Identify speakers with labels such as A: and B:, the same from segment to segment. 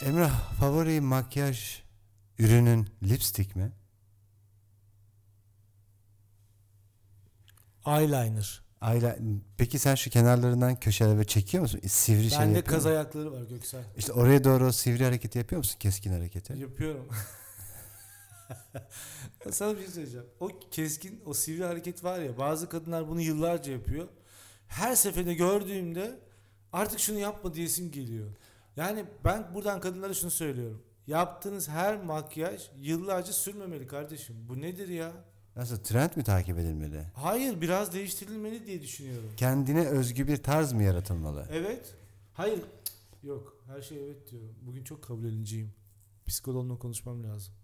A: Emrah favori makyaj ürünün lipstick mi?
B: Eyeliner.
A: Ayla, peki sen şu kenarlarından köşelere böyle çekiyor musun? Sivri şey
B: Bende
A: yapıyor
B: kaz
A: musun?
B: ayakları var Göksel.
A: İşte oraya doğru sivri hareketi yapıyor musun? Keskin hareketi.
B: Yapıyorum. Sana bir şey söyleyeceğim. O keskin, o sivri hareket var ya bazı kadınlar bunu yıllarca yapıyor. Her seferinde gördüğümde artık şunu yapma diyesim geliyor. Yani ben buradan kadınlara şunu söylüyorum. Yaptığınız her makyaj yıllarca sürmemeli kardeşim. Bu nedir ya?
A: Nasıl trend mi takip edilmeli?
B: Hayır biraz değiştirilmeli diye düşünüyorum.
A: Kendine özgü bir tarz mı yaratılmalı?
B: Evet. Hayır. Yok. Her şey evet diyorum. Bugün çok kabulleniciyim. Psikoloğumla konuşmam lazım.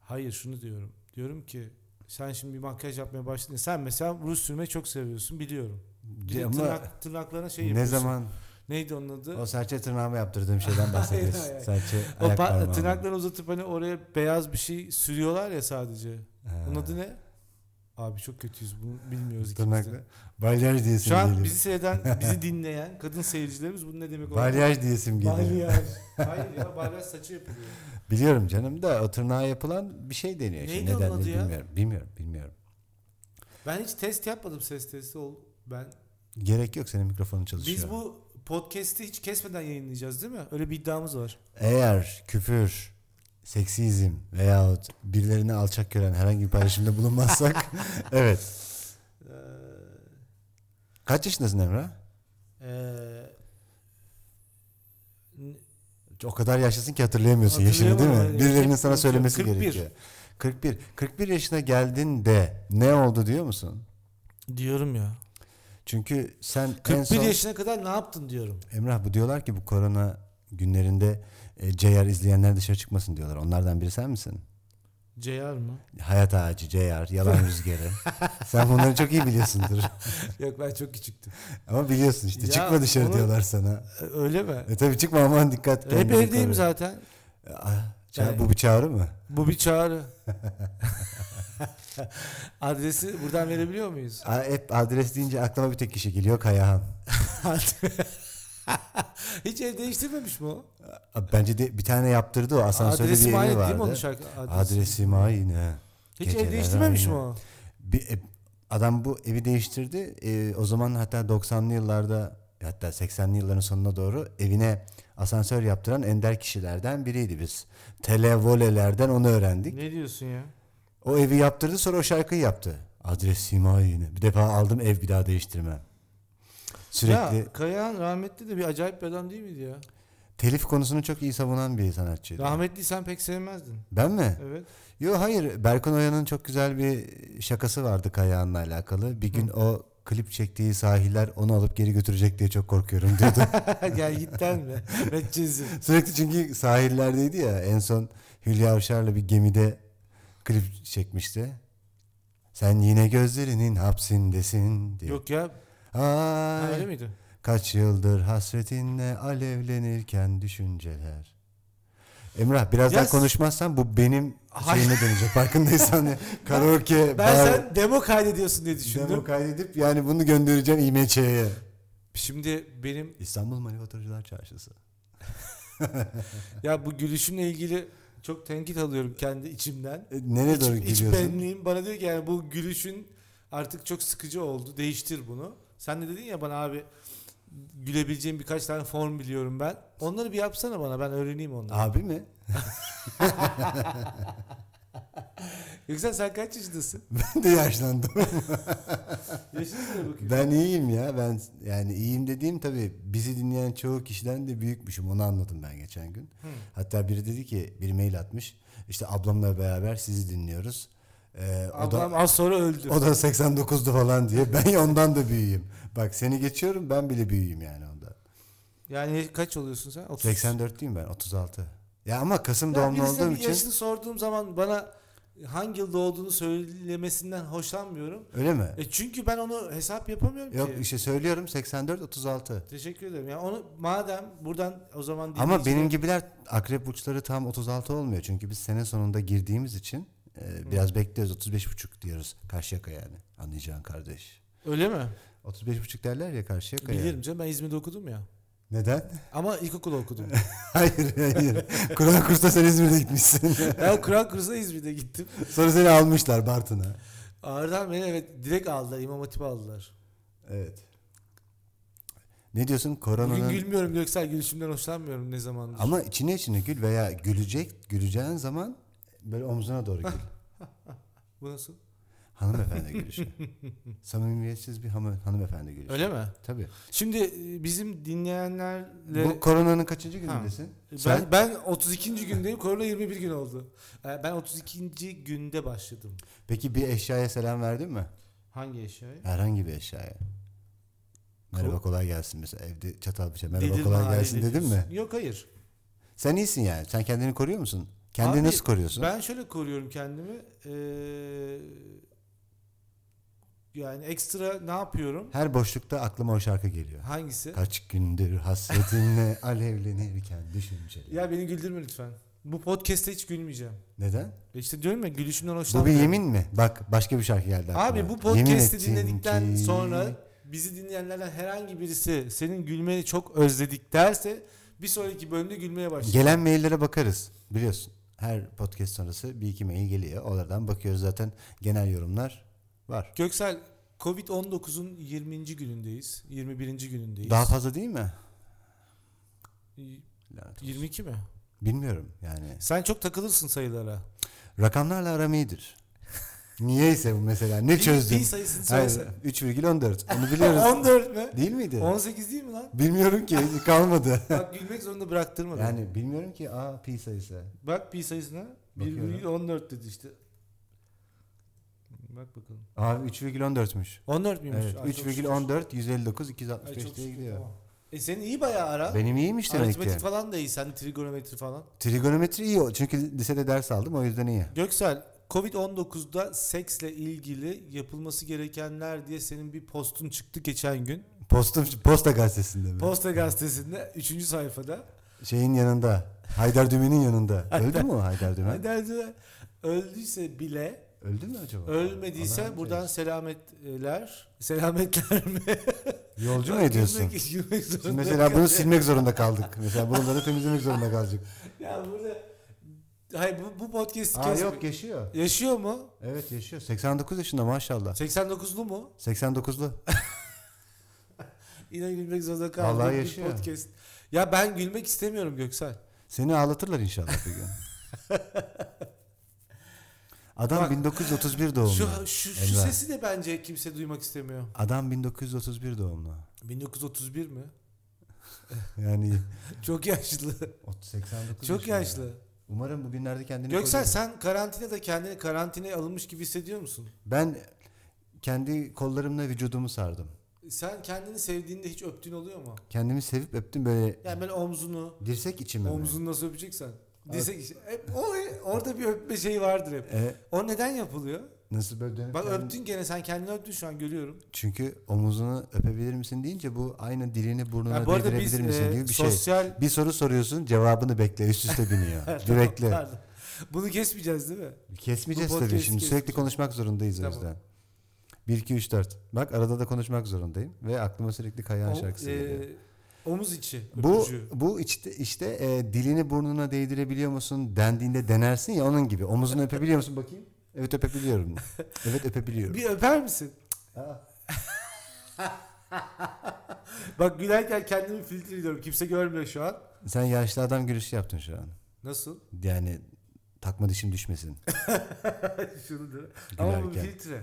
B: Hayır şunu diyorum. Diyorum ki sen şimdi bir makyaj yapmaya başladın. Sen mesela ruj sürmeyi çok seviyorsun biliyorum. Bir de
A: Ama
B: tırnak, tırnaklarına şey
A: ne
B: yapıyorsun.
A: zaman
B: Neydi onun adı?
A: o serçe tırnağıma yaptırdığım şeyden bahsediyorsun.
B: hayır.
A: serçe
B: O
A: ayak
B: pa-
A: parmağım.
B: tırnaklarını uzatıp hani oraya beyaz bir şey sürüyorlar ya sadece.
A: Ha.
B: Onun adı ne? Abi çok kötüyüz bunu bilmiyoruz ikimiz de.
A: Tırnaklı. Balyaj diyesim
B: Şu an
A: geliyor.
B: bizi seyreden, bizi dinleyen kadın seyircilerimiz bunun ne demek olduğunu
A: Balyaj diyesim geliyor.
B: Balyaj. Hayır ya balyaj saçı yapılıyor.
A: Biliyorum canım da o tırnağa yapılan bir şey deniyor. Şimdi
B: Neydi
A: nedenini
B: onun adı ya?
A: bilmiyorum. Bilmiyorum, bilmiyorum.
B: Ben hiç test yapmadım ses testi ol. Ben
A: Gerek yok senin mikrofonun çalışıyor.
B: biz bu podcast'i hiç kesmeden yayınlayacağız değil mi? Öyle bir iddiamız var.
A: Eğer küfür, seksizm veyahut birilerini alçak gören herhangi bir paylaşımda bulunmazsak evet.
B: Ee,
A: Kaç yaşındasın Emrah?
B: eee, n-
A: O kadar yaşlısın ki hatırlayamıyorsun yaşını değil mi?
B: Hatırlayamam.
A: Birilerinin
B: Yani
A: sana söylemesi
B: 41.
A: gerekiyor. 41. 41 yaşına geldin de ne oldu diyor musun?
B: diyorum ya.
A: Çünkü sen en
B: 41
A: son...
B: yaşına kadar ne yaptın diyorum.
A: Emrah bu diyorlar ki bu korona günlerinde e, CR izleyenler dışarı çıkmasın diyorlar. Onlardan biri sen misin?
B: CR mı?
A: Hayat ağacı, CR, yalan rüzgarı. sen bunları çok iyi biliyorsundur.
B: Yok ben çok küçüktüm.
A: Ama biliyorsun işte
B: Ya
A: çıkma dışarı
B: onu-
A: diyorlar sana.
B: Ee, Öyle mi?
A: E tabii çıkma aman dikkat.
B: Hep
A: kendini
B: evdeyim
A: koru.
B: zaten.
A: Aa, ça-
B: Yani-
A: ah, Bu bir çağrı mı?
B: Bu bir çağrı. Adresi buradan verebiliyor muyuz?
A: Aa, hep adres deyince aklıma bir tek kişi geliyor Kayahan.
B: Hiç ev değiştirmemiş mi o?
A: Aa, Bence de bir tane yaptırdı o asansörde
B: Adresi
A: bir evi
B: aynı
A: vardı.
B: değil mi onun şarkı? Adresi.
A: Adresim aynı.
B: Hiç
A: Geceler
B: ev değiştirmemiş mi
A: aynı.
B: o?
A: Bir, e, adam bu evi değiştirdi. E, o zaman hatta 90'lı yıllarda hatta 80'li yılların sonuna doğru evine asansör yaptıran ender kişilerden biriydi biz. Televolelerden onu öğrendik.
B: Ne diyorsun ya?
A: O evi yaptırdı sonra o şarkıyı yaptı. Adres sima yine. Bir defa aldım ev bir daha değiştirmem. Sürekli
B: Ya Kayahan rahmetli de bir acayip bir adam değil miydi ya?
A: telif konusunu çok iyi savunan bir sanatçıydı.
B: Rahmetli sen pek sevmezdin.
A: ben mi?
B: Evet.
A: Yo hayır Berkun Oya'nın çok güzel bir şakası vardı Kayahan'la alakalı. Bir gün o klip çektiği sahiller onu alıp geri götürecek diye çok korkuyorum diyordu.
B: Gel gitten mi? Metçizim.
A: Sürekli çünkü sahillerdeydi ya en son Hülya Avşar'la bir gemide klip çekmişti. Sen yine gözlerinin hapsindesin diye.
B: Yok ya. Ha,
A: Ay,
B: öyle miydi?
A: kaç yıldır hasretinle alevlenirken düşünceler. Emrah biraz
B: Ya
A: daha
B: s-
A: konuşmazsan bu benim
B: Hayır.
A: şeyime dönecek. Farkındaysan ya. karaoke,
B: Ben
A: bar-
B: sen demo kaydediyorsun diye düşündüm.
A: Demo kaydedip yani bunu göndereceğim İMÇ'ye.
B: Şimdi benim
A: İstanbul Manifaturcular Çarşısı.
B: ya bu gülüşümle ilgili çok tenkit alıyorum kendi içimden.
A: E, nereye doğru
B: İç, iç
A: gidiyorsun?
B: benliğim bana diyor ki yani bu gülüşün artık çok sıkıcı oldu. Değiştir bunu. Sen de dedin ya bana abi gülebileceğim birkaç tane form biliyorum ben. Onları bir yapsana bana ben öğreneyim onları.
A: Abi mi?
B: Yüksel sen kaç yaşındasın?
A: Ben de yaşlandım.
B: Yaşınızı da bakayım.
A: ben iyiyim ya. Ben yani iyiyim dediğim tabii bizi dinleyen çoğu kişiden de büyükmüşüm. Onu anladım ben geçen gün. Hatta biri dedi ki bir mail atmış. İşte ablamla beraber sizi dinliyoruz. Ee, o da
B: Ablam az sonra öldü.
A: o da 89'du falan diye. Ben ya ondan da büyüğüm. Bak seni geçiyorum ben bile büyüğüm yani onda.
B: Yani kaç oluyorsun sen? 30.
A: 84'lüyüm ben 36. Ya ama Kasım
B: Ya
A: doğumlu
B: birisine
A: olduğum
B: bir
A: için
B: yaşını sorduğum zaman bana hangi yılda olduğunu söylemesinden hoşlanmıyorum.
A: öyle mi?
B: E çünkü ben onu hesap yapamıyorum
A: Yok
B: ki.
A: işte söylüyorum 84 36.
B: Teşekkür ederim. Yani onu madem buradan o zaman
A: Ama
B: dinleyiciler-
A: benim gibiler akrep burçları tam 36 olmuyor. Çünkü biz sene sonunda girdiğimiz için e, biraz bekliyoruz. 35 buçuk diyoruz Karşıyaka yani. Anlayacağın kardeş.
B: Öyle mi?
A: 35 buçuk derler ya Karşıyaka.
B: Bilirim
A: Yani.
B: canım ben İzmir'de okudum ya.
A: Neden?
B: Ama ilkokulu okudum.
A: hayır hayır. Kur'an kursa sen İzmir'de gitmişsin.
B: ben Kur'an kursuna İzmir'de gittim.
A: Sonra seni almışlar Bartın'a.
B: Ağrı'dan beni evet direkt aldılar. İmam Hatip'e aldılar.
A: Evet. Ne diyorsun?
B: Bugün
A: Koronanın...
B: gülmüyorum Göksel. Gülüşümden hoşlanmıyorum ne zamandır.
A: Ama içine içine gül veya gülecek, güleceğin zaman böyle omzuna doğru gül.
B: Bu nasıl?
A: hanımefendi gülüşü. Samimiyetsiz bir hanım, hanımefendi gülüşü.
B: Öyle mi?
A: Tabii.
B: Şimdi e, bizim dinleyenlerle...
A: Bu koronanın kaçıncı
B: Ha.
A: günündesin? Sen-
B: Ben, ben 32. gündeyim. Korona 21 gün oldu. Ee, Ben 32. günde başladım.
A: Peki bir eşyaya selam verdin mi?
B: Hangi eşyayı?
A: Herhangi bir eşyaya. Merhaba
B: Ko-
A: kolay gelsin mesela evde çatal bıçak merhaba
B: Dedim
A: kolay
B: hali
A: gelsin dedin mi?
B: diyorsun. Yok hayır.
A: Sen iyisin yani. Sen kendini koruyor musun? Kendini
B: Abi,
A: nasıl koruyorsun?
B: Ben şöyle koruyorum kendimi. Ee, yani ekstra ne yapıyorum?
A: Her boşlukta aklıma o şarkı geliyor.
B: Hangisi?
A: Kaç gündür hasretinle alevlenirken düşünceli.
B: Ya beni güldürme lütfen. Bu podcast'te hiç gülmeyeceğim.
A: Neden?
B: E İşte diyorum ya gülüşümden
A: Bu bir
B: hoşlanmıyorum.
A: yemin mi? Bak başka bir şarkı geldi
B: Abi
A: aklıma.
B: bu
A: Yemin
B: podcast'i
A: ettim
B: dinledikten
A: ki-
B: sonra bizi dinleyenlerden herhangi birisi senin gülmeni çok özledik derse bir sonraki bölümde gülmeye başlayacak.
A: Gelen maillere bakarız biliyorsun. Her podcast sonrası bir iki mail geliyor. Oradan bakıyoruz zaten genel yorumlar var.
B: Göksel Covid-19'un 20. günündeyiz. 21. günündeyiz.
A: Daha fazla değil mi?
B: Y-
A: Lanet olsun.
B: 22 mi?
A: Bilmiyorum yani.
B: Sen çok takılırsın sayılara.
A: Rakamlarla aram iyidir. Niyeyse bu mesela ne
B: Pi-
A: çözdün?
B: Pi sayısını
A: Hayır,
B: söylesene.
A: 3,14 onu biliyoruz.
B: 14 mü?
A: değil miydi?
B: 18 değil mi lan?
A: Bilmiyorum ki kalmadı.
B: Bak gülmek zorunda bıraktırma. beni.
A: yani bilmiyorum ki a pi sayısı.
B: Bak pi sayısına.
A: Bakıyorum.
B: 1,14 dedi işte. Bak bakalım.
A: Abi 3,14'müş.
B: 14 miymiş?
A: Evet,
B: Ay, çok şükür.
A: 3,14 159
B: Ay,
A: 265
B: çok
A: diye
B: şükür,
A: gidiyor.
B: tamam. E senin iyi bayağı ara.
A: Benim iyiymiş demek ki.
B: Aritmetik falan da iyi. Sen trigonometri falan.
A: Trigonometri iyi o. Çünkü lisede ders aldım o yüzden iyi.
B: Göksel Covid-19'da seksle ilgili yapılması gerekenler diye senin bir postun çıktı geçen gün.
A: Postum, posta gazetesinde mi?
B: Posta gazetesinde 3. sayfada.
A: Şeyin yanında. Haydar Dümen'in yanında. Öldü mü o Haydar Dümen?
B: Derdiler öldüyse bile
A: Öldü mü acaba? Allah
B: ölmediyse
A: rahmet
B: buradan
A: eylesin.
B: selametler selametler mi?
A: şey, Yolcu mu ediyorsun?
B: Gülmek- gülmek zorunda
A: Şimdi mesela bunu
B: kalıyor.
A: silmek zorunda kaldık. Mesela bunları temizlemek zorunda kalacak.
B: Ya burada Hayır bu, bu podcast
A: Aa yok yaşıyor.
B: Yaşıyor mu?
A: Evet yaşıyor. 89 yaşında maşallah.
B: 89'lu mu?
A: 89'lu.
B: Yine gülmek zorunda kaldım.
A: Vallahi
B: Bir
A: yaşıyor.
B: Podcast. Ya ben gülmek istemiyorum Göksel.
A: Seni ağlatırlar inşallah bir gün. Adam
B: Bak,
A: 1931 doğumlu.
B: Şu, şu, şu
A: Emrah.
B: sesi de bence kimse duymak istemiyor.
A: Adam 1931 doğumlu.
B: 1931 mi?
A: Yani
B: Çok yaşlı.
A: 89
B: Çok
A: yaşında.
B: yaşlı.
A: Umarım bugünlerde kendini
B: Göksel
A: koruyor.
B: sen karantinada kendini karantinaya alınmış gibi hissediyor musun?
A: Ben kendi kollarımla vücudumu sardım.
B: Sen kendini sevdiğinde hiç öptüğün oluyor mu?
A: Kendimi sevip öptüm böyle
B: Yani böyle omzunu,
A: dirsek içime. mi?
B: omzunu nasıl öpeceksen. Dirsek işte. Hep o, orada bir öpme şeyi vardır hep.
A: E,
B: O neden yapılıyor?
A: nasıl böyle dönüp
B: Bak
A: kendimi-
B: öptün gene sen kendini öptün şu an görüyorum.
A: Çünkü omuzunu öpebilir misin deyince bu aynı dilini burnuna
B: Yani bu arada
A: değdirebilir
B: biz
A: misin
B: e,
A: gibi bir şey.
B: sosyal
A: Bir soru soruyorsun cevabını bekle üst üste biniyor. Sürekli.
B: Pardon. Bunu kesmeyeceğiz değil mi?
A: Kesmeyeceğiz
B: Bu
A: tabii şimdi
B: podcast'i
A: sürekli
B: kesmeyeceğiz.
A: konuşmak zorundayız o
B: Tamam.
A: yüzden. 1 2 3 4. Bak arada da konuşmak zorundayım ve aklıma sürekli Kayahan
B: O-
A: şarkısı
B: e,
A: geliyor.
B: omuz içi.
A: Bu
B: öpücüğü.
A: bu işte işte e, dilini burnuna değdirebiliyor musun dendiğinde denersin ya onun gibi. Omuzunu öpebiliyor musun bakayım? Evet öpebiliyorum. Evet öpebiliyorum.
B: Bir öper misin?
A: Aa,
B: Bak gülerken kendimi filtre ediyorum. Kimse görmüyor şu an.
A: Sen yaşlı adam gülüşü yaptın şu an.
B: Nasıl?
A: Yani takma dişim düşmesin.
B: Şunu da- Ama bu bir
A: Gülerken.
B: filtre.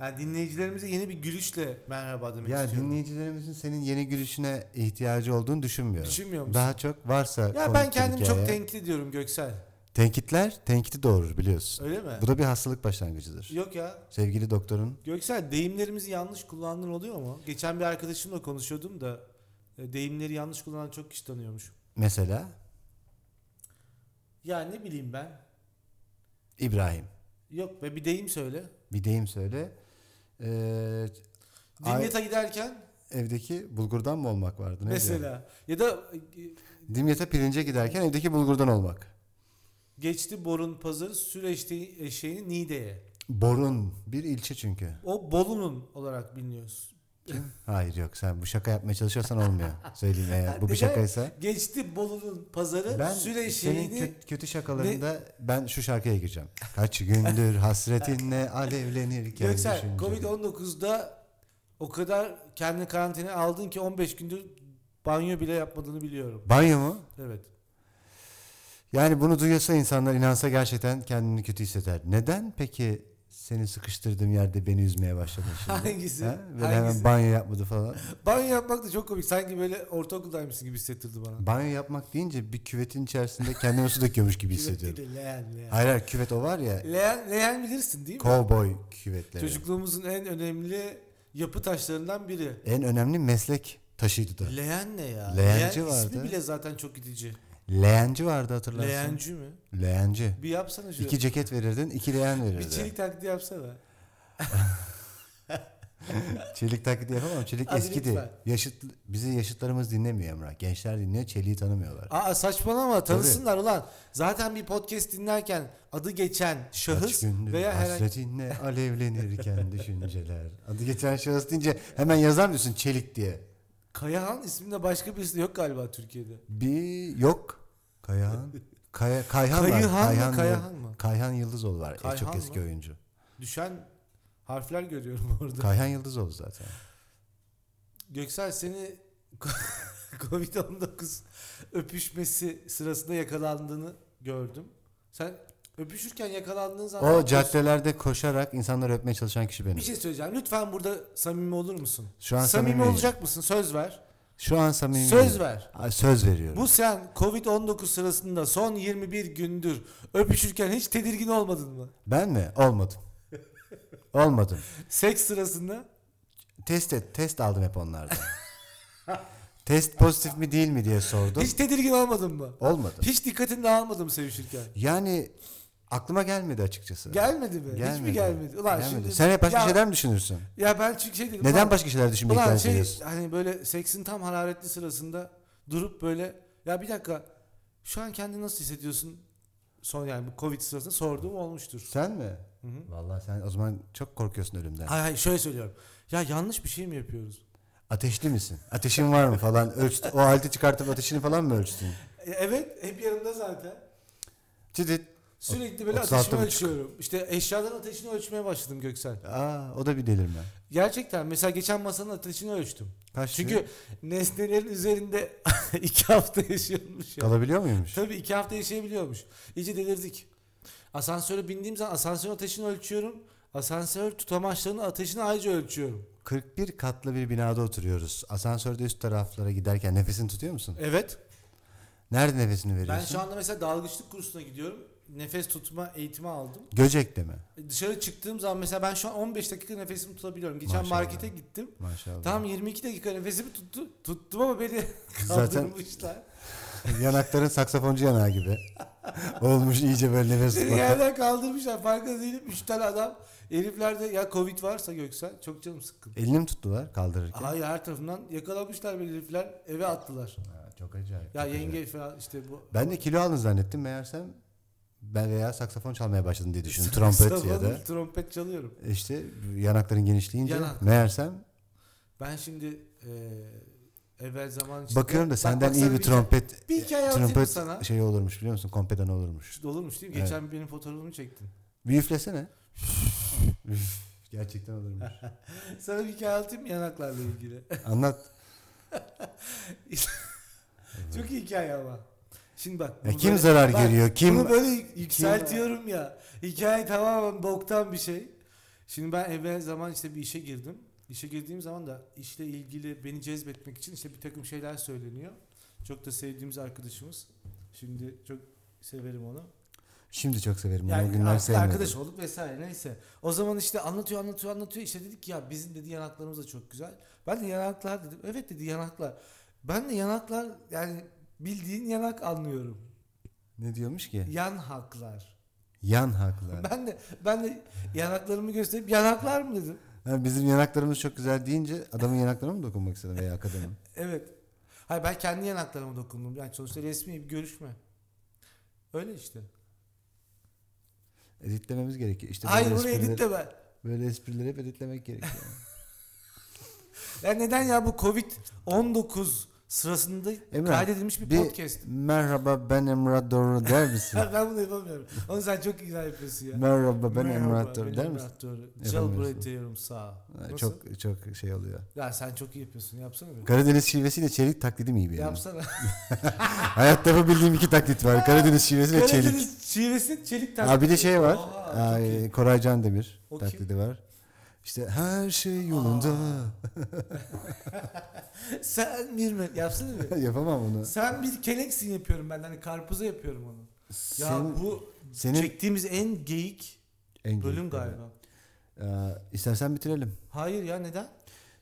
B: Yani dinleyicilerimize yeni bir gülüşle merhaba demek
A: Ya
B: istiyorum.
A: dinleyicilerimizin senin yeni gülüşüne ihtiyacı olduğunu düşünmüyorum.
B: Düşünmüyor musun?
A: Daha çok varsa
B: ya
A: komik
B: ben
A: bir
B: kendimi çok
A: hikaye-
B: tenkit ediyorum Göksel.
A: Tenkitler tenkiti doğurur biliyorsun.
B: Öyle mi?
A: Bu da bir hastalık başlangıcıdır.
B: Yok ya.
A: Sevgili doktorun
B: Göksel deyimlerimizi yanlış kullandığın oluyor mu? Geçen bir arkadaşımla konuşuyordum da e, deyimleri yanlış kullanan çok kişi tanıyormuş.
A: mesela
B: Ya ne bileyim ben.
A: İbrahim.
B: Yok be bir deyim söyle.
A: Bir deyim söyle. Ee, Ay-
B: Dimyat'a giderken
A: evdeki bulgurdan mı olmak vardı? Neydi?
B: mesela ya da e,
A: Dimyat'a pirince giderken evdeki bulgurdan olmak.
B: geçti borun pazarı süreçti eşeğini Niğde'ye.
A: Borun bir ilçe çünkü.
B: O Bolu'nun olarak biliniyoruz.
A: Kim? Hayır yok sen bu şaka yapmaya çalışıyorsan olmuyor. Söyleyeyim eğer bu bir
B: Neden?
A: şakaysa.
B: Geçti Bolu'nun pazarı
A: Ben
B: süre
A: senin
B: şeyini
A: kötü, kötü şakalarında ben şu şarkıya gireceğim. Kaç gündür hasretinle alevlenirken
B: Göksel
A: düşünce.
B: Covid-19'da o kadar kendini karantinaya aldın ki 15 gündür banyo bile yapmadığını biliyorum.
A: Banyo mu?
B: Evet.
A: Yani bunu duyuyorsa insanlar inansa gerçekten kendini kötü hisseder. Neden peki seni sıkıştırdığım yerde beni üzmeye başladın şimdi?
B: Hangisi?
A: Ha? Böyle
B: Hangisi?
A: hemen banyo yapmadı falan.
B: Banyo yapmak da çok komik. Sanki böyle ortaokuldaymışsın gibi hissettirdi bana.
A: Banyo yapmak deyince bir küvetin içerisinde kendimi su döküyormuş gibi hissediyorum.
B: Küvetli de Leğen, leğen.
A: Hayır hayır küvet o var ya.
B: leğen. Leğen bilirsin değil mi?
A: Cowboy küvetleri.
B: Çocukluğumuzun en önemli yapı taşlarından biri.
A: En önemli meslek taşıydı da.
B: Leğen ne ya?
A: Leğenci
B: leğen ismi
A: vardı.
B: bile zaten çok itici.
A: Leğenci vardı hatırlarsın.
B: Leğenci mi?
A: Leğenci.
B: Bir yapsana şöyle.
A: İki ceket verirdin, iki leğen
B: bir
A: verirdin. Çelik.
B: çelik taklidi yapsana.
A: taklidi yapamam. Çelik
B: Hadi
A: eskidi.
B: lütfen.
A: Yaşıt, bizi yaşıtlarımız dinlemiyor Emrah. Gençler dinliyor, çeliği tanımıyorlar.
B: Aa saçmalama tanısınlar ulan. Zaten bir podcast dinlerken adı geçen
A: Kaç
B: şahıs
A: gündür
B: veya herhangi
A: hasretinle alevlenirken düşünceler. Adı geçen şahıs deyince hemen yazar mısın Çelik diye?
B: Kayahan isminde başka birisi de yok galiba Türkiye'de.
A: Bir yok. Kayahan. Kaya, Kayhan var.
B: Kayıhan mı
A: Yıl-
B: Kayahan mı?
A: Kayhan Yıldızoğlu var. E, çok
B: Kayhan
A: eski
B: mı?
A: oyuncu.
B: Düşen harfler görüyorum orada.
A: Kayhan Yıldızoğlu zaten.
B: Göksel seni Covid-19 öpüşmesi sırasında yakalandığını gördüm. Sen öpüşürken yakalandığın zaman...
A: O caddelerde koşarak insanları öpmeye çalışan kişi benim.
B: Bir şey söyleyeceğim. Lütfen burada samimi olur musun?
A: Şu an
B: samimi
A: samimiyim.
B: olacak mısın? Söz ver.
A: Şu an samimi.
B: Söz ver.
A: Ay, Söz veriyorum.
B: Bu sen Covid-19 sırasında son 21 gündür öpüşürken hiç tedirgin olmadın mı?
A: Ben mi? Olmadım. Olmadım.
B: Seks sırasında
A: Test et, test aldım hep onlardan. test pozitif mi değil mi diye sordum.
B: hiç tedirgin olmadın mı?
A: Olmadı.
B: Hiç dikkatini dağılmadı mı sevişirken?
A: Yani aklıma gelmedi açıkçası.
B: Gelmedi mi? Hiç mi gelmedi? Ulan
A: Gelmedi.
B: şimdi
A: Sen hep başka
B: ya,
A: şeyler mi düşünürsün?
B: Ya ben çünkü şey dedim.
A: Neden
B: ulan-
A: başka şeyler düşünmeyi
B: Ulan
A: tercih
B: şey
A: ediyorsun?
B: hani böyle seksin tam hararetli sırasında durup böyle ya bir dakika şu an kendini nasıl hissediyorsun? Son yani bu Covid sırasında sorduğum olmuştur.
A: Sen mi?
B: Hı hı.
A: Vallahi sen o zaman çok korkuyorsun ölümden.
B: Hayır hayır şöyle söylüyorum. Ya yanlış bir şey mi yapıyoruz?
A: Ateşli misin? Ateşin var mı falan? Ölçtü, o halde çıkartıp ateşini falan mı ölçtün?
B: E, evet hep yanımda zaten.
A: Cidit.
B: Sürekli böyle
A: 36,5.
B: ateşimi ölçüyorum. İşte eşyaların ateşini ölçmeye başladım Göksel.
A: Aa, o da bir delirme.
B: Gerçekten mesela geçen masanın ateşini ölçtüm.
A: Kaç
B: Çünkü nesnelerin üzerinde iki hafta yaşıyormuş ya.
A: kalabiliyor muymuş?
B: Tabii iki hafta yaşayabiliyormuş. İyice delirdik. Asansöre bindiğim zaman asansörün ateşini ölçüyorum. Asansör tutamaçlarının ateşini ayrıca ölçüyorum.
A: 41 katlı bir binada oturuyoruz. Asansörde üst taraflara giderken nefesini tutuyor musun?
B: Evet.
A: Nerede nefesini veriyorsun?
B: Ben şu anda mesela dalgıçlık kursuna gidiyorum. Nefes tutma eğitimi aldım.
A: Göcek'te mi?
B: E, Dışarı çıktığım zaman mesela ben şu an 15 dakika nefesimi tutabiliyorum. Geçen
A: Maşallah.
B: markete gittim.
A: Maşallah.
B: Tam 22 dakika nefesimi tuttu. Tuttum ama beni
A: Zaten
B: kaldırmışlar.
A: yanakların saksafoncu yanağı gibi. Olmuş iyice böyle nefes
B: Beni
A: tutmak.
B: yerden kaldırmışlar. Farkında değilim. 3 tane adam. Heriflerde ya Covid varsa Göksel çok canım sıkkın.
A: Elini mi tuttular kaldırırken?
B: Hayır her tarafından yakalamışlar beni herifler. Eve attılar.
A: Ha, çok acayip.
B: Ya
A: çok acayip.
B: yenge falan işte bu.
A: Ben de kilo aldın zannettim meğersem ben veya saksafon çalmaya başladım diye düşündüm. Trompet ya da.
B: Trompet çalıyorum.
A: İşte yanakların genişleyince
B: Yanak.
A: meğersem
B: Ben şimdi eee evvel zaman içinde-
A: bakıyorum da
B: Bak,
A: senden
B: bak
A: iyi
B: sana
A: bir trompet
B: Bir hikaye anlatayım
A: trompet
B: sana.
A: şey olurmuş biliyor musun? Kompedan olurmuş.
B: Şu Olurmuş değil mi?
A: Evet.
B: Geçen benim fotoğrafımı çektin.
A: Bir üflesene. Üf, Gerçekten olurmuş.
B: Sana bir hikaye anlatayım mı yanaklarla ilgili.
A: Anlat.
B: Çok iyi hikaye ama. Şimdi bak.
A: Ya
B: bunu
A: kim
B: böyle-
A: zarar
B: bak,
A: görüyor? Kim?
B: Bunu böyle yükseltiyorum ya. Hikaye tamamen boktan bir şey. Şimdi ben evvel zaman işte bir işe girdim. İşe girdiğim zaman da işle ilgili beni cezbetmek için işte bir takım şeyler söyleniyor. Çok da sevdiğimiz arkadaşımız. Şimdi çok severim onu.
A: Şimdi çok severim. Yani, o
B: Yani
A: günler
B: ar-
A: sevmiyorum.
B: arkadaş olduk vesaire neyse. O zaman işte anlatıyor anlatıyor anlatıyor. İşte dedik ki ya bizim dedi yanaklarımız da çok güzel. Ben de yanaklar dedim. Evet dedi yanaklar. Ben de yanaklar yani bildiğin yanak anlıyorum.
A: Ne diyormuş ki?
B: Yan haklar.
A: Yan haklar.
B: Ben de ben de yanaklarımı gösterip yanaklar mı dedim.
A: Ha, bizim yanaklarımız çok güzel deyince adamın yanaklarına mı dokunmak istedim veya kadının?
B: Evet. Hayır ben kendi yanaklarıma dokundum. Yani sonuçta resmi bir görüşme. Öyle işte.
A: Editlememiz gerekiyor. İşte
B: Hayır
A: böyle
B: bunu
A: esprileri-
B: editleme.
A: Böyle esprileri hep editlemek gerekiyor.
B: Ya neden ya bu Covid-19 sırasında
A: Emre,
B: kaydedilmiş bir,
A: bir-
B: podcast.
A: Merhaba ben Emrah Doğru der misin?
B: Ya ben bunu yapamıyorum. Onu sen çok güzel yapıyorsun ya.
A: Merhaba ben Emrah Doğru
B: ben
A: der
B: Emrah
A: misin?
B: Doğru.
A: Yapamıyorsun.
B: Jailbreak diyorum sağ.
A: Ha,
B: Nasıl?
A: Çok çok şey oluyor.
B: Ya sen çok iyi yapıyorsun. Yapsana bir.
A: Karadeniz şivesiyle çelik taklidi mi iyi benim?
B: Yapsana.
A: Hayatta yapabildiğim iki taklit var. Karadeniz şivesi ve çelik.
B: Karadeniz şivesinin çelik taklidi.
A: Ha bir de şey var.
B: Oha, çok
A: Aa,
B: iyi.
A: Koray Can Demir
B: O kim?
A: taklidi var. İşte her şey yolunda.
B: sen bir mi? Yapsana bir.
A: Yapamam onu.
B: sen bir keleksin yapıyorum ben. Hani karpuza yapıyorum onu. Ya
A: Senin-
B: bu
A: senin
B: çektiğimiz en geyik
A: en
B: bölüm
A: büyük-
B: galiba.
A: Aa, istersen bitirelim.
B: Hayır ya neden?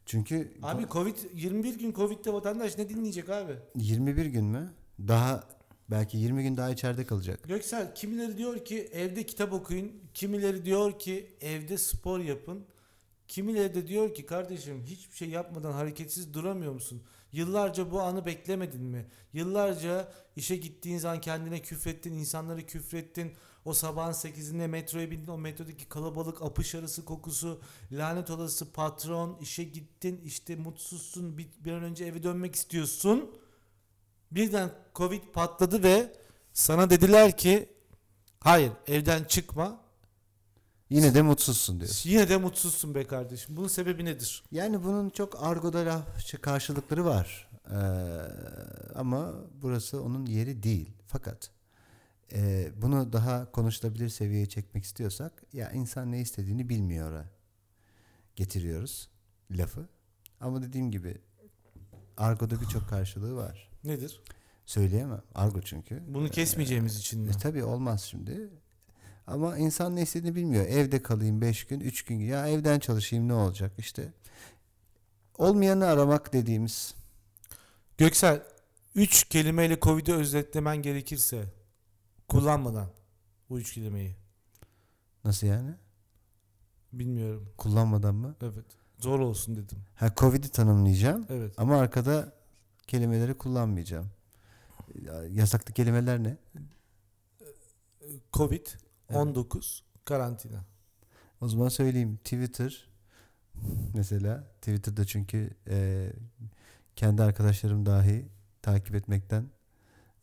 A: Çünkü
B: Abi Covid 21 gün Covid'de vatandaş ne dinleyecek abi?
A: 21 gün mü? Daha belki 20 gün daha içeride kalacak.
B: Göksel kimileri diyor ki evde kitap okuyun, kimileri diyor ki evde spor yapın. Kimileri de diyor ki kardeşim hiçbir şey yapmadan hareketsiz duramıyor musun? Yıllarca bu anı beklemedin mi? Yıllarca işe gittiğin zaman kendine küfrettin, insanları küfrettin. O sabahın 8'inde metroya bindin, o metrodaki kalabalık, apış arası kokusu, lanet olası patron, işe gittin, işte mutsuzsun, bir, bir an önce eve dönmek istiyorsun. Birden Covid patladı ve sana dediler ki hayır evden çıkma.
A: Yine de mutsuzsun diyor.
B: Yine de mutsuzsun be kardeşim. Bunun sebebi nedir?
A: Yani bunun çok argoda lafçı şey, karşılıkları var. Ee, ama burası onun yeri değil. Fakat e, bunu daha konuşulabilir seviyeye çekmek istiyorsak ya insan ne istediğini bilmiyor getiriyoruz lafı. Ama dediğim gibi argoda birçok karşılığı var.
B: Nedir?
A: Söyleyemem. Argo çünkü.
B: Bunu kesmeyeceğimiz için mi?
A: E tabii olmaz şimdi. Ama insan ne istediğini bilmiyor. Evde kalayım 5 gün, 3 gün. Ya evden çalışayım ne olacak işte. Olmayanı aramak dediğimiz.
B: Göksel 3 kelimeyle Covid'i özetlemen gerekirse kullanmadan bu 3 kelimeyi
A: Nasıl yani?
B: bilmiyorum.
A: Kullanmadan mı?
B: Evet. Zor olsun dedim.
A: Ha Covid'i tanımlayacağım
B: Evet.
A: ama arkada kelimeleri kullanmayacağım. Ya, Yasaklı kelimeler ne?
B: Covid 19 karantina.
A: O zaman söyleyeyim. Twitter mesela Twitter'da çünkü e, kendi arkadaşlarım dahi takip etmekten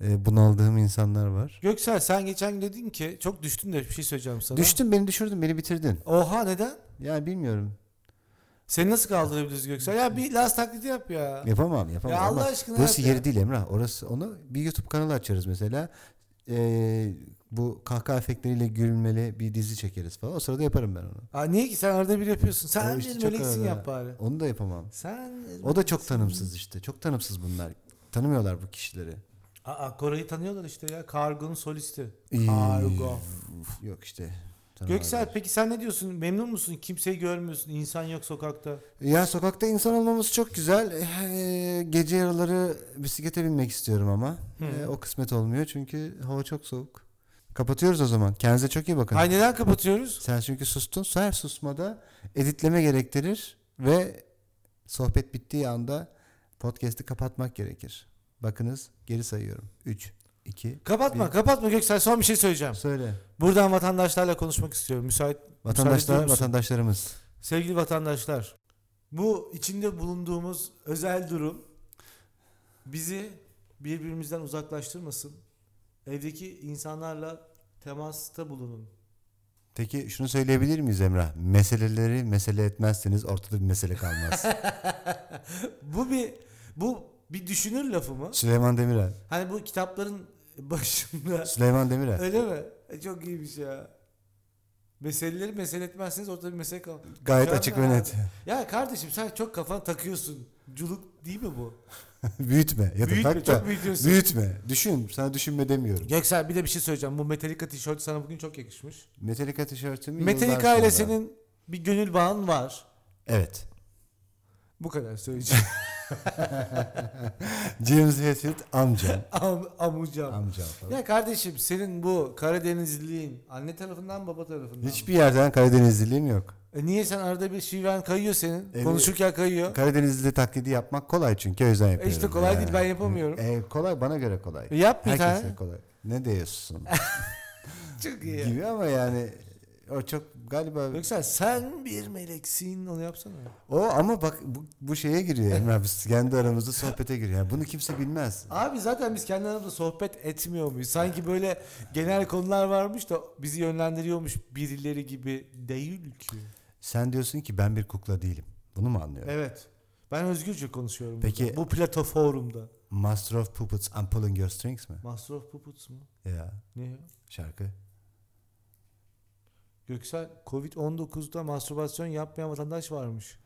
A: e, bunaldığım insanlar var.
B: Göksel sen geçen gün dedin ki çok düştün de bir şey söyleyeceğim sana.
A: Düştün beni düşürdün beni bitirdin.
B: Oha neden?
A: Ya bilmiyorum.
B: Seni nasıl kaldırabiliriz Göksel? Ya bir last taklidi yap ya.
A: Yapamam yapamam.
B: Ya Allah
A: ama
B: aşkına
A: Burası
B: yap ya.
A: yeri değil Emrah. Orası onu bir YouTube kanalı açarız mesela. Ee, bu kahkaha efektleriyle gülmeli bir dizi çekeriz falan. O sırada yaparım ben onu.
B: Aa, niye ki sen arada bir yapıyorsun?
A: O
B: Sen
A: işte
B: bir
A: çok
B: meleksin
A: arada.
B: yap bari.
A: Onu da yapamam.
B: Sen
A: O da çok tanımsız işte. Çok tanımsız bunlar. Tanımıyorlar bu kişileri.
B: Aa, Koray'ı tanıyorlar işte ya. Kargo'nun solisti.
A: İyi.
B: Kargo.
A: Uf, Yok işte. tanımıyorlar.
B: Göksel peki sen ne diyorsun? Memnun musun? Kimseyi görmüyorsun. İnsan yok sokakta.
A: Ya sokakta insan olmamız çok güzel. Ee, gece yarıları bisiklete binmek istiyorum ama.
B: Hı.
A: Ee, o kısmet olmuyor çünkü hava çok soğuk. Kapatıyoruz o zaman. Kendinize çok iyi bakın.
B: Ay neden kapatıyoruz?
A: Sen çünkü sustun. Her susmada editleme gerektirir ve sohbet bittiği anda podcast'i kapatmak gerekir. Bakınız geri sayıyorum. 3, 2,
B: Kapatma, kapatma Göksel. Son bir şey söyleyeceğim.
A: söyle.
B: Buradan vatandaşlarla konuşmak istiyorum. Müsait
A: Vatandaşlar,
B: ediyor musun?
A: vatandaşlarımız.
B: Sevgili vatandaşlar, bu içinde bulunduğumuz özel durum bizi birbirimizden uzaklaştırmasın. Evdeki insanlarla temasta bulunun.
A: Peki şunu söyleyebilir miyiz Emrah? Meseleleri mesele etmezseniz ortada bir mesele kalmaz.
B: bu bir bu bir düşünür lafı mı?
A: Süleyman Demirel.
B: Hani bu kitapların başında
A: Süleyman Demirel.
B: öyle mi? E, çok iyiymiş ya. Meseleleri mesele etmezseniz ortada bir mesele kalır.
A: Gayet
B: Mükemmel
A: açık ve
B: abi.
A: net.
B: Ya kardeşim sen çok kafana takıyorsun. Culuk değil mi bu?
A: büyütme ya da
B: Büyütme,
A: tak da
B: çok büyütüyorsun.
A: büyütme. Düşün. Sana düşünme demiyorum.
B: Göksel bir de bir şey söyleyeceğim. Bu Metallica tişörtü sana bugün çok yakışmış.
A: Metallica tişörtümü yıllar
B: Metallica
A: sonra-
B: ile senin bir gönül bağın var.
A: Evet.
B: Bu kadar söyleyeceğim.
A: James Hetfield amca.
B: Am, amucam.
A: amca falan.
B: Ya kardeşim senin bu Karadenizliğin anne tarafından baba tarafından.
A: Hiçbir yerden Karadenizliliğim yok.
B: E niye sen arada bir şiven kayıyor senin?
A: Evet.
B: Konuşurken kayıyor.
A: Karadenizli taklidi yapmak kolay çünkü o yüzden
B: E
A: yapıyorum.
B: işte kolay
A: Ya.
B: değil ben yapamıyorum.
A: E, kolay bana göre kolay.
B: E yap bir
A: Herkese
B: tane.
A: kolay. Ne diyorsun?
B: Çok iyi. ya.
A: gibi ama yani O çok galiba
B: Yoksa sen bir meleksin onu yapsana.
A: o ama bak bu, bu şeye giriyor Emre abi. Kendi aramızda sohbete giriyor. Yani bunu kimse bilmez.
B: Abi zaten biz kendi aramızda sohbet etmiyor muyuz? Sanki böyle genel konular varmış da bizi yönlendiriyormuş birileri gibi değil ki.
A: Sen diyorsun ki ben bir kukla değilim. Bunu mu anlıyorum?
B: Evet. Ben özgürce konuşuyorum.
A: Peki-
B: burada. Bu platformda.
A: Master of Puppets I'm Pulling Your Strings mi?
B: Master of Puppets mı?
A: Ya
B: Ne ya?
A: şarkı.
B: Göksel Covid-19'da mastürbasyon yapmayan vatandaş varmış.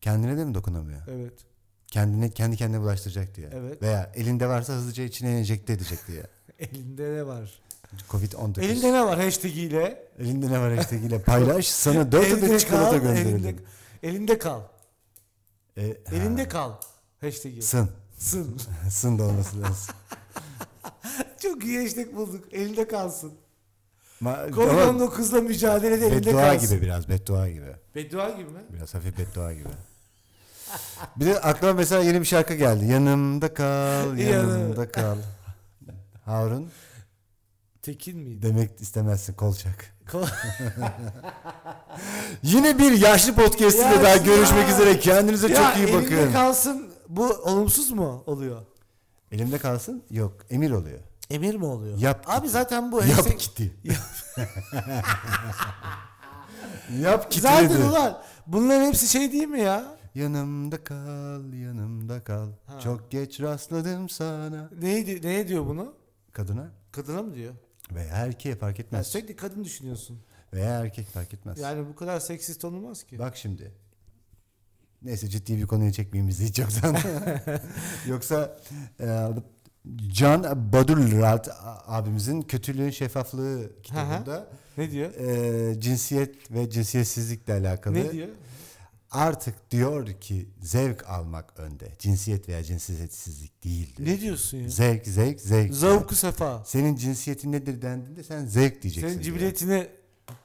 A: Kendine de mi dokunamıyor?
B: Evet.
A: Kendine kendi kendine bulaştıracak diye.
B: Evet.
A: Veya elinde varsa hızlıca içine enjekte edecek diye.
B: Elinde ne var?
A: Covid-19.
B: Elinde ne var hashtag ile?
A: Elinde ne var işte yine paylaş. Sana 4
B: Evde
A: adet çikolata
B: kal, Elinde,
A: gönderelim.
B: elinde kal.
A: E, ha,
B: Elinde kal. Hashtag.
A: Sın.
B: Sın.
A: Sın da olması lazım.
B: Çok iyi hashtag bulduk. Elinde kalsın.
A: Ma- ama
B: Covid-19'la mücadelede elinde
A: beddua
B: kalsın.
A: gibi biraz beddua gibi.
B: Beddua gibi mi?
A: Biraz hafif beddua gibi. Bir de aklıma mesela yeni bir şarkı geldi. Yanımda kal, yanımda kal. Harun
B: Tekin miydi?
A: demek istemezsin kolçak.
B: Ko-
A: Yine bir yaşlı podcast ile
B: Ya
A: daha
B: ya.
A: görüşmek üzere. Kendinize
B: ya
A: çok iyi
B: elinde
A: bakın.
B: kalsın bu olumsuz mu oluyor?
A: Elimde kalsın? Yok. Emir oluyor.
B: Emir mi oluyor?
A: Yap
B: Abi zaten bu
A: Yap
B: hashtag-
A: kiti. Yap kiti
B: Zaten
A: dedi.
B: ulan bunların hepsi şey değil mi ya?
A: Yanımda kal, yanımda kal.
B: Ha.
A: Çok geç rastladım sana.
B: Neydi, neye diyor bunu?
A: Kadına
B: Kadına mı diyor?
A: veya erkeğe fark
B: Yani
A: etmez.
B: sürekli kadın düşünüyorsun.
A: Veya erkek fark etmez.
B: Yani bu kadar seksist olmaz ki.
A: Bak şimdi. Neyse ciddi bir konuya çekmeyeyim bizi hiç yoktan. Yoksa e, Can Badulrat abimizin Kötülüğün Şeffaflığı kitabında
B: Ne diyor?
A: e, cinsiyet ve cinsiyetsizlikle alakalı
B: Ne diyor?
A: artık diyor ki zevk almak önde. Cinsiyet veya cinsiyetsizlik değil. diyor.
B: Ne diyorsun ya?
A: Zevk, zevk, zevk.
B: Zavku sefa.
A: Senin cinsiyetin nedir dendiğinde sen zevk diyeceksin.
B: Senin
A: diyor.
B: cibiletine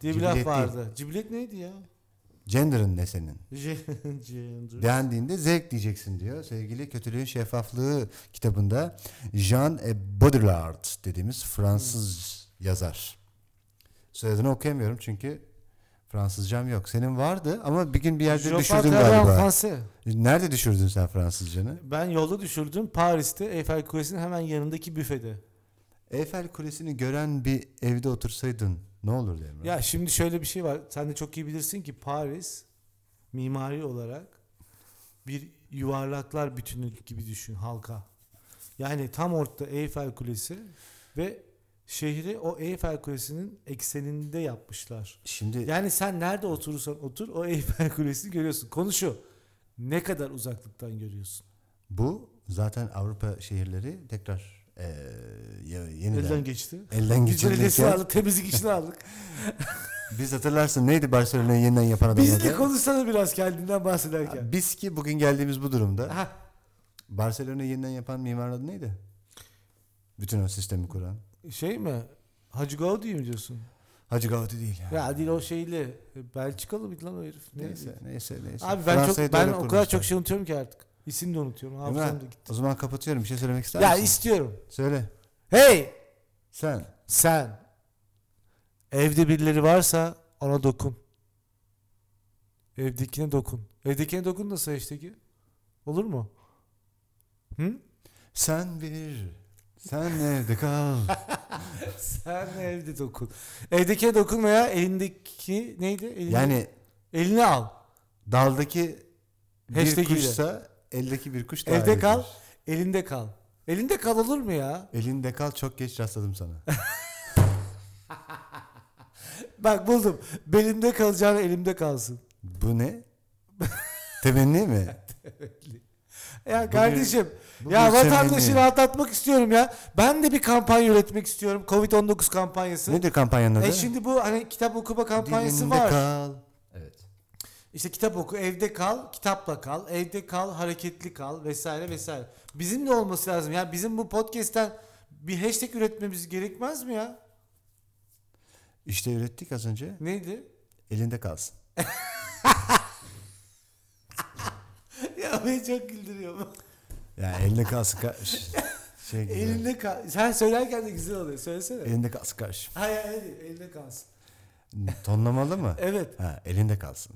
B: diye bir
A: Cibilet
B: laf
A: değil.
B: vardı. Cibilet neydi ya?
A: Gender'ın ne senin?
B: Je- Gender.
A: Dendiğinde zevk diyeceksin diyor. Sevgili Kötülüğün Şeffaflığı kitabında Jean e, Baudrillard dediğimiz Fransız yazar. Soyadını okuyamıyorum çünkü Fransızcam yok. Senin vardı ama bir gün bir yerde
B: Jean-Paul
A: düşürdün
B: Clairvaux
A: galiba.
B: Fransız.
A: Nerede düşürdün sen Fransızcanı?
B: Ben yolda düşürdüm Paris'te Eiffel Kulesi'nin hemen yanındaki büfede.
A: Eyfel Kulesi'ni gören bir evde otursaydın ne olurdu Emre?
B: Ya şimdi şöyle bir şey var. Sen de çok iyi bilirsin ki Paris mimari olarak bir yuvarlaklar bütünü gibi düşün halka. Yani tam ortada Eyfel Kulesi ve şehri o Eyfel Kulesi'nin ekseninde yapmışlar.
A: Şimdi
B: Yani sen nerede oturursan otur o Eyfel Kulesi'ni görüyorsun. Konu şu. Ne kadar uzaklıktan görüyorsun?
A: Bu zaten Avrupa şehirleri tekrar eee, ya- yeniden
B: Elden
A: elden,
B: geçti. Biz belediyesini
A: geçirilirken
B: aldık, temizlik işini aldık.
A: biz hatırlarsın neydi Barcelona'yı yeniden yapan adam
B: Biz de
A: adı?
B: konuşsana biraz kendinden bahsederken.
A: Biz ki bugün geldiğimiz bu durumda
B: Ha,
A: Barcelona'yı yeniden yapan mimarın adı neydi? Bütün o sistemi kuran.
B: şey mi? Hacı Gaudi mi diyorsun?
A: Hacı Gaudi değil yani.
B: Ya değil o şeyli. Belçikalı mıydı lan o herif? Ne-
A: Neyse neyse neyse.
B: Abi ben
A: Fransa'yı
B: çok
A: da
B: ben
A: öyle
B: o kadar
A: kurmuşlar.
B: çok şey unutuyorum ki artık. İsim de unutuyorum.
A: Emre,
B: Hafızam da gitti.
A: o zaman kapatıyorum. Bir şey söylemek ister
B: Ya
A: misin?
B: istiyorum.
A: Söyle.
B: Hey
A: Sen.
B: sen. Evde birileri varsa ona dokun. Evdekine dokun. Evdekine dokun da hashtag'i. Olur mu? Hı?
A: Sen bir. Sen evde kal.
B: Sen evde dokun. Evdekine dokun veya elindeki neydi? Elini,
A: yani
B: elini al.
A: Daldaki bir
B: Hashtag ile.
A: kuşsa eldeki bir kuş daha
B: Evde
A: iyidir.
B: kal. Elinde kal. Elinde kal olur mu ya?
A: Elinde kal çok geç rastladım sana.
B: Bak buldum. Belimde kalacağına elimde kalsın.
A: Bu ne? Temenni mi?
B: Ya
A: Bugün-
B: kardeşim
A: Bu
B: ya
A: bir
B: vatandaşı
A: temenni.
B: rahatlatmak istiyorum ya. Ben de bir kampanya üretmek istiyorum. Covid-19 kampanyası.
A: Nedir kampanyanın adı?
B: E şimdi bu hani kitap okuma kampanyası
A: Dilinde
B: var.
A: kal. Evet.
B: İşte kitap oku, evde kal, kitapla kal, evde kal, hareketli kal vesaire vesaire. Bizim de olması lazım. Ya bizim bu podcast'ten bir hashtag üretmemiz gerekmez mi ya?
A: İşte ürettik az önce.
B: Neydi?
A: Elinde kalsın.
B: ya beni çok güldürüyor. bu.
A: Ya elinde kalsın. Ka- şey gibi. Elinde,
B: Elinde kal. Sen söylerken de güzel oluyor. Söylesene.
A: kalsın karşı.
B: Hayır hayır elinde kalsın.
A: Tonlamalı mı?
B: Evet.
A: Ha, elinde kalsın.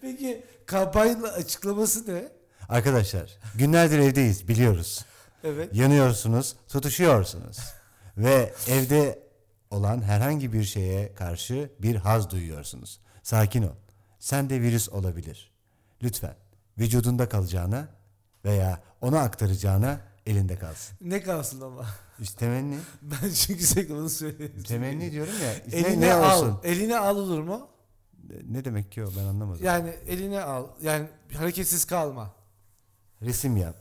B: Peki kampanya açıklaması ne?
A: Arkadaşlar günlerdir evdeyiz biliyoruz.
B: Evet.
A: Yanıyorsunuz, tutuşuyorsunuz. Ve evde olan herhangi bir şeye karşı bir haz duyuyorsunuz. Sakin ol. Sen de virüs olabilir. Lütfen vücudunda kalacağına veya ona aktaracağına elinde kalsın.
B: Ne kalsın ama.
A: İşte temenni.
B: Ben çünkü sürekli onu söyleyeyim.
A: Temenni diyorum ya.
B: Eline
A: ne, ne
B: al.
A: olsun?
B: Eline al olur mu?
A: Ne demek ki o ben anlamadım.
B: Yani eline al. Yani hareketsiz kalma.
A: Resim yap.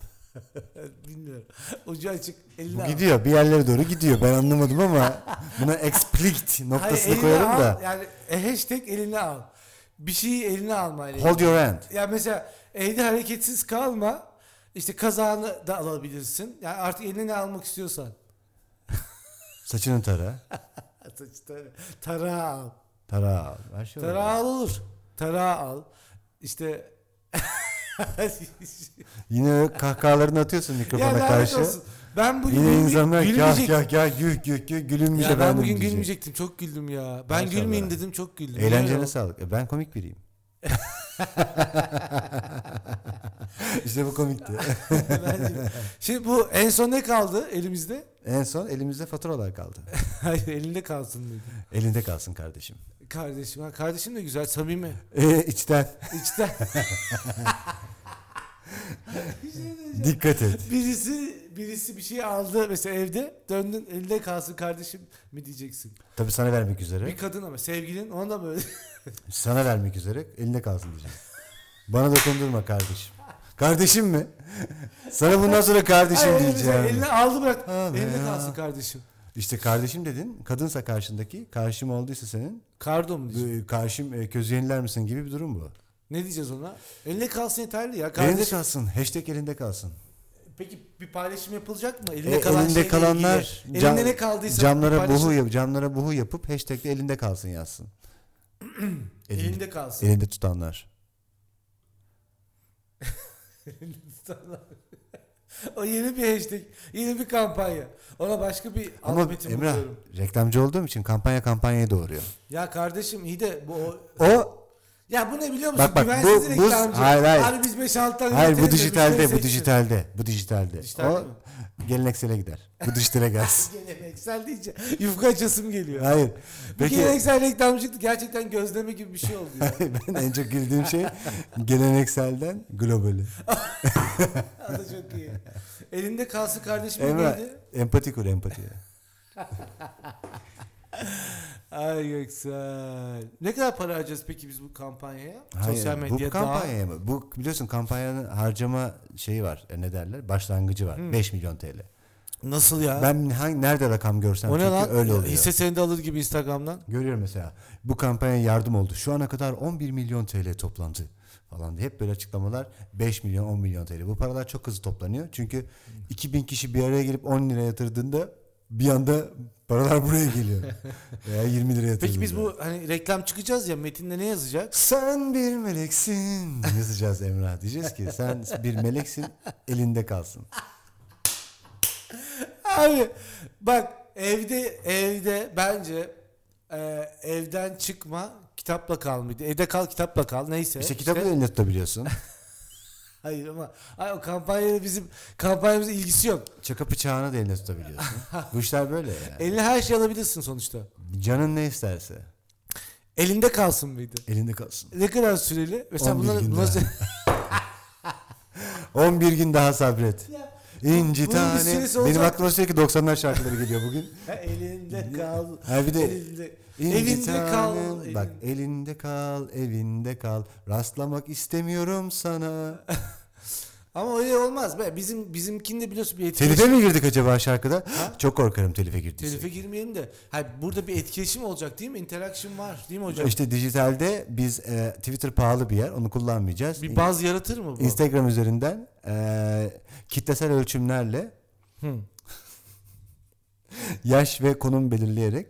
B: Bilmiyorum. Ucu açık. Eline
A: Bu
B: al.
A: gidiyor bir yerlere doğru gidiyor. Ben anlamadım ama buna explicit
B: Hayır,
A: noktasını
B: eline
A: koyarım
B: al.
A: da.
B: Yani e, hashtag eline al. Bir şeyi eline alma. ile
A: Hold your hand.
B: Ya mesela evde hareketsiz kalma. İşte kazağını da alabilirsin. Yani artık eline ne almak istiyorsan.
A: Saçını tara.
B: Saçı tara- Tarağı al.
A: Tara al. Her şey olur.
B: Tarağı al olur. Tarağı al. İşte
A: Yine öyle kahkahalarını atıyorsun mikrofona
B: ya lanet
A: karşı.
B: olsun. Ben bugün
A: Yine
B: gülme-
A: insanlar kah
B: gülmeyecektim.
A: kah kah gül gül gül gülün
B: Ya
A: bile
B: ben
A: ben
B: bugün şey gülmeyecektim. Çok güldüm ya. Ben
A: Maşallah.
B: gülmeyeyim dedim çok güldüm.
A: Eğlencene
B: Bilmiyorum.
A: sağlık. E, ben komik biriyim. işte bu komikti.
B: Bence- Şimdi bu en son ne kaldı elimizde?
A: En son elimizde faturalar kaldı.
B: Hayır elinde kalsın dedi.
A: Elinde kalsın kardeşim.
B: Kardeşim. Ha, kardeşim de güzel samimi.
A: E, içten
B: İçten. şey
A: dikkat et.
B: birisi birisi bir şey aldı mesela evde döndün elinde kalsın kardeşim mi diyeceksin.
A: Tabii sana vermek üzere.
B: Bir kadın ama sevgilin ona da böyle
A: Sana vermek üzere elinde kalsın diyeceğim. Bana dokundurma kardeşim. Kardeşim mi? Sana bundan sonra kardeşim
B: Hayır, hayır,
A: şey diyeceğim.
B: Eline aldı bırak.
A: Ha be
B: elinde
A: ya.
B: kalsın kardeşim.
A: İşte kardeşim dedin. Kadınsa karşındaki. Karşım olduysa senin.
B: Kardo mu diyeceğim?
A: e, Karşım e, közü yeniler misin gibi bir durum bu.
B: Ne diyeceğiz ona? Elinde kalsın yeterli ya.
A: Elinde
B: Kardeşim.
A: kalsın. Hashtag elinde kalsın.
B: Peki bir paylaşım yapılacak mı? Elinde,
A: E,
B: kalan
A: elinde
B: şeyle
A: kalanlar
B: ilgili.
A: cam-
B: elinde ne kaldıysa bir
A: camlara
B: paylaşım-
A: buhu yap, camlara buhu yapıp hashtag'le elinde kalsın yazsın. elinde, elinde,
B: elinde kalsın.
A: tutanlar. E-
B: o yeni bir hashtag, yeni bir kampanya. Ona başka bir
A: Ama
B: alt metin
A: Emrah
B: buluyorum.
A: reklamcı olduğum için kampanya kampanyaya doğruyor.
B: Ya kardeşim iyi de bu o,
A: O
B: ya bu ne biliyor musun?
A: Bak, bak, bu-
B: Güvensiz
A: bu-
B: reklamcı.
A: hayır, hayır.
B: Harbi biz 5-6 tane
A: Hayır bu
B: yönetiriz de
A: dijitalde,
B: müşteri
A: bu dijitalde, bu dijitalde.
B: Dijitalde
A: o
B: mi?
A: geleneksele gider. Bu dijitale gelsin.
B: seçiyoruz. Geleneksel deyince yufka açasım geliyor.
A: Hayır.
B: Peki.
A: Peki
B: Bir geleneksel reklamcılık gerçekten gözleme gibi bir şey oldu ya.
A: ben en çok güldüğüm şey gelenekselden globali.
B: O da çok iyi. Elinde kalsın kardeşim
A: Emre
B: neydi?
A: empati kur empati.
B: Ay güzel. Ne kadar para harcayacağız peki biz bu kampanyaya? Sosyal
A: Hayır, bu
B: medyada.
A: kampanya mı? Bu biliyorsun kampanyanın harcama şeyi var. E, ne derler? Başlangıcı
B: Hmm.
A: var. 5 milyon TL.
B: Nasıl ya?
A: Ben hangi nerede rakam görsem
B: o ne
A: çünkü
B: lan?
A: öyle oluyor.
B: Hisse senedi alır gibi Instagram'dan.
A: Görüyorum mesela bu kampanya yardım oldu. Şu ana kadar 11 milyon TL toplandı falan diye hep böyle açıklamalar 5 milyon 10 milyon TL. Bu paralar çok hızlı toplanıyor. Çünkü
B: Hmm.
A: 2000 kişi bir araya gelip 10 lira yatırdığında bir anda paralar buraya geliyor. Veya 20 lira yatırdığında.
B: Peki biz bu hani reklam çıkacağız ya metinde ne yazacak?
A: sen bir meleksin yazacağız Emrah. Diyeceğiz ki sen bir meleksin elinde kalsın.
B: Abi bak evde evde bence e, evden çıkma kitapla kal mıydı? Evde kal kitapla kal neyse.
A: İşte kitabı da elinde tutabiliyorsun.
B: Hayır ama ay, o kampanyayla bizim kampanyamızın ilgisi yok.
A: Çaka bıçağını da elinde tutabiliyorsun. Bu işler böyle yani.
B: Eline her şey alabilirsin sonuçta.
A: Canın ne isterse
B: Elinde kalsın mıydı?
A: elinde kalsın.
B: Ne kadar süreli? Mesela
A: 11
B: bunları
A: gün
B: nasıl...
A: 11 gün daha sabret.
B: Ya,
A: İnci
B: Bunun bir
A: tane.
B: süresi
A: Benim
B: olacak.
A: aklıma sürekli 90'lar şarkıları geliyor bugün.
B: elinde kal.
A: Ha bir de
B: Elinde,
A: İnci
B: Evinde
A: tanem,
B: kal,
A: Bak
B: elin-
A: elinde kal, evinde kal. Rastlamak istemiyorum sana.
B: Ama öyle olmaz be. Bizim bizimkinde biliyorsun bir etkileşim.
A: Telife mi girdik acaba şarkıda?
B: Ha?
A: Çok korkarım telife girdiysek.
B: Telife girmeyelim de. Hayır, burada bir etkileşim olacak değil mi? Interaction var değil mi hocam?
A: İşte dijitalde biz e, Twitter pahalı bir yer. Onu kullanmayacağız.
B: bir baz yaratır mı bu?
A: Instagram üzerinden e, kitlesel ölçümlerle
B: Hı.
A: yaş ve konum belirleyerek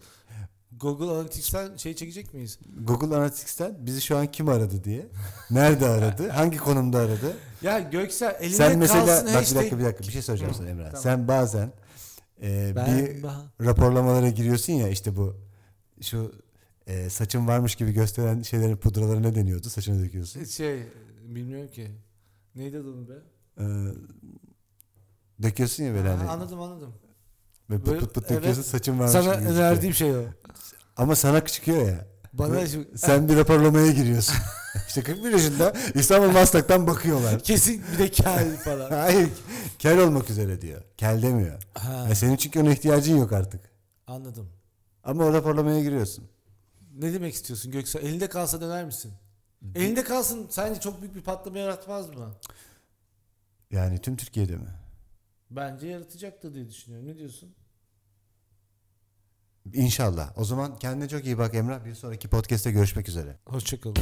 B: Google Analytics'ten şey çekecek miyiz?
A: Google Analytics'ten bizi şu an kim aradı diye. Nerede aradı? hangi konumda aradı?
B: Ya Göksel elinde
A: Sen mesela
B: kalsın
A: bak bir
B: hashtag.
A: dakika bir dakika bir şey soracağım sana Emrah.
B: tamam.
A: Sen bazen e,
B: Ben,
A: bir
B: ben-
A: raporlamalara giriyorsun ya işte bu şu e, saçın varmış gibi gösteren şeylerin pudraları ne deniyordu? Saçına döküyorsun.
B: şey bilmiyorum ki. Neydi adı onun be?
A: E, döküyorsun ya böyle
B: Ha,
A: hani.
B: anladım anladım.
A: Böyle pıt
B: Böyle-
A: pıt pıt
B: evet.
A: döküyorsun saçın varmış
B: Sana
A: gibi. gözüküyor.
B: önerdiğim şey o.
A: Ama sana çıkıyor ya.
B: Bana
A: Böyle-
B: şimdi,
A: Sen bir raporlamaya giriyorsun. işte 41 yaşında İstanbul Maslak'tan bakıyorlar.
B: kesin bir de kel falan.
A: Hayır. Kel olmak üzere diyor. Kel demiyor.
B: Ha,
A: Ya senin çünkü ona ihtiyacın yok artık.
B: anladım.
A: Ama o raporlamaya giriyorsun.
B: Ne demek istiyorsun Göksel? Elinde kalsa döner misin? Elinde kalsın sence çok büyük bir patlama yaratmaz mı?
A: Yani tüm Türkiye'de mi?
B: Bence yaratacaktır diye düşünüyorum. Ne diyorsun?
A: İnşallah. O zaman kendine çok iyi bak Emrah. Bir sonraki podcast'te görüşmek üzere.
B: Hoşçakalın.